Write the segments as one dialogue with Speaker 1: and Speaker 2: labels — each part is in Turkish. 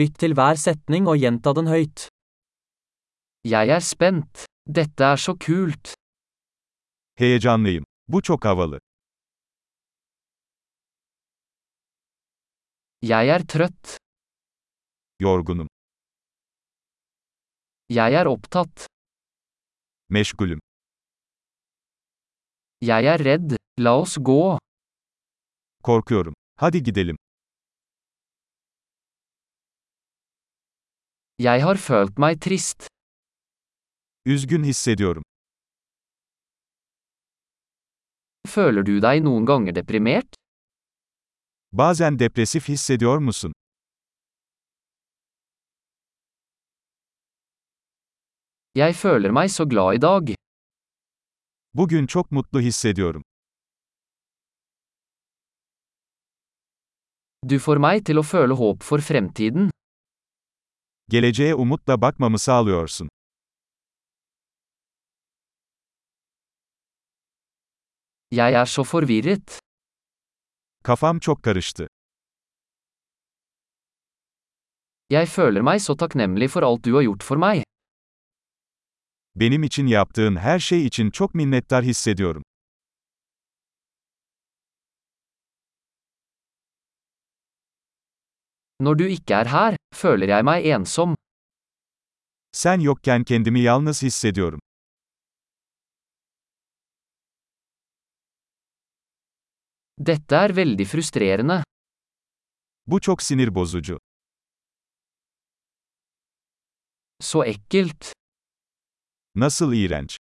Speaker 1: Lytt til hver setning og gjenta den høyt. Jeg er spent. Dette er så kult.
Speaker 2: Heyecanlıyım. Bu çok havalı.
Speaker 1: Jeg er trøtt.
Speaker 2: Yorgunum.
Speaker 1: Jeg er opptatt.
Speaker 2: Meşgulüm.
Speaker 1: Jeg er redd. La oss gå.
Speaker 2: Korkuyorum. Hadi gidelim.
Speaker 1: Jeg har følt meg trist.
Speaker 2: Üzgün hissediyorum.
Speaker 1: Føler du deg noen ganger deprimert?
Speaker 2: Bazen depresif hissediyor musun?
Speaker 1: Jeg føler meg så glad i dag.
Speaker 2: Bugün çok mutlu hissediyorum.
Speaker 1: Du får meg til å føle håp for fremtiden.
Speaker 2: Geleceğe umutla bakmamı sağlıyorsun.
Speaker 1: Jeg er så forvirret.
Speaker 2: Kafam çok karıştı.
Speaker 1: Jeg føler meg så takknemlig for alt du har gjort for meg.
Speaker 2: Benim için yaptığın her şey için çok minnettar hissediyorum.
Speaker 1: Når du ikke er her, føler jeg meg ensom.
Speaker 2: Sen yokken kendimi yalnız hissediyorum.
Speaker 1: Dette er veldig frustrerende.
Speaker 2: Bu çok sinir bozucu.
Speaker 1: Så ekkelt.
Speaker 2: Nasıl iğrenç.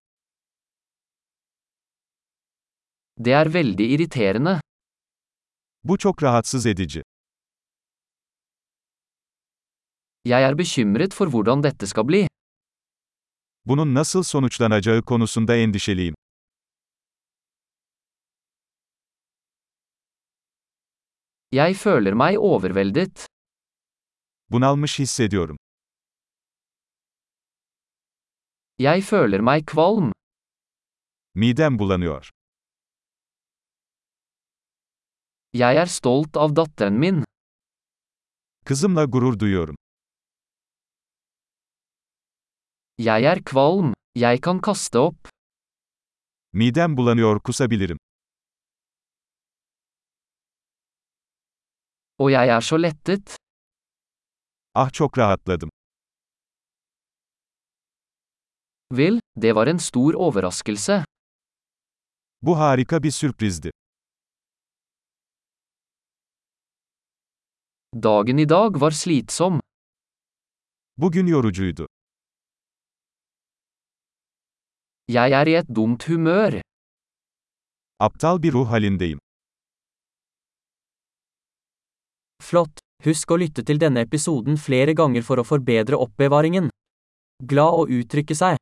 Speaker 1: Det er veldig irriterende.
Speaker 2: Bu çok rahatsız edici.
Speaker 1: Jeg er bekymret for hvordan dette skal bli.
Speaker 2: Bunun nasıl sonuçlanacağı konusunda endişeliyim.
Speaker 1: Jeg føler meg overveldet.
Speaker 2: Bunalmış hissediyorum.
Speaker 1: Jeg føler meg kvalm.
Speaker 2: Midem bulanıyor.
Speaker 1: Jeg er stolt av datteren min.
Speaker 2: Kızımla gurur duyuyorum.
Speaker 1: Jeg er kvalm. Jeg kan kaste opp.
Speaker 2: Midem bulanıyor kusabilirim.
Speaker 1: Og jeg er så lettet.
Speaker 2: Ah çok rahatladım.
Speaker 1: Vel, det var en stor overraskelse.
Speaker 2: Bu harika bir sürprizdi.
Speaker 1: Dagen i dag var slitsom.
Speaker 2: Bugün yorucuydu.
Speaker 1: Jeg er i et dumt humør.
Speaker 2: Aptal bir ruh halindeyim.
Speaker 1: Flott! Husk å lytte til denne episoden flere ganger for å forbedre oppbevaringen. Glad å uttrykke seg.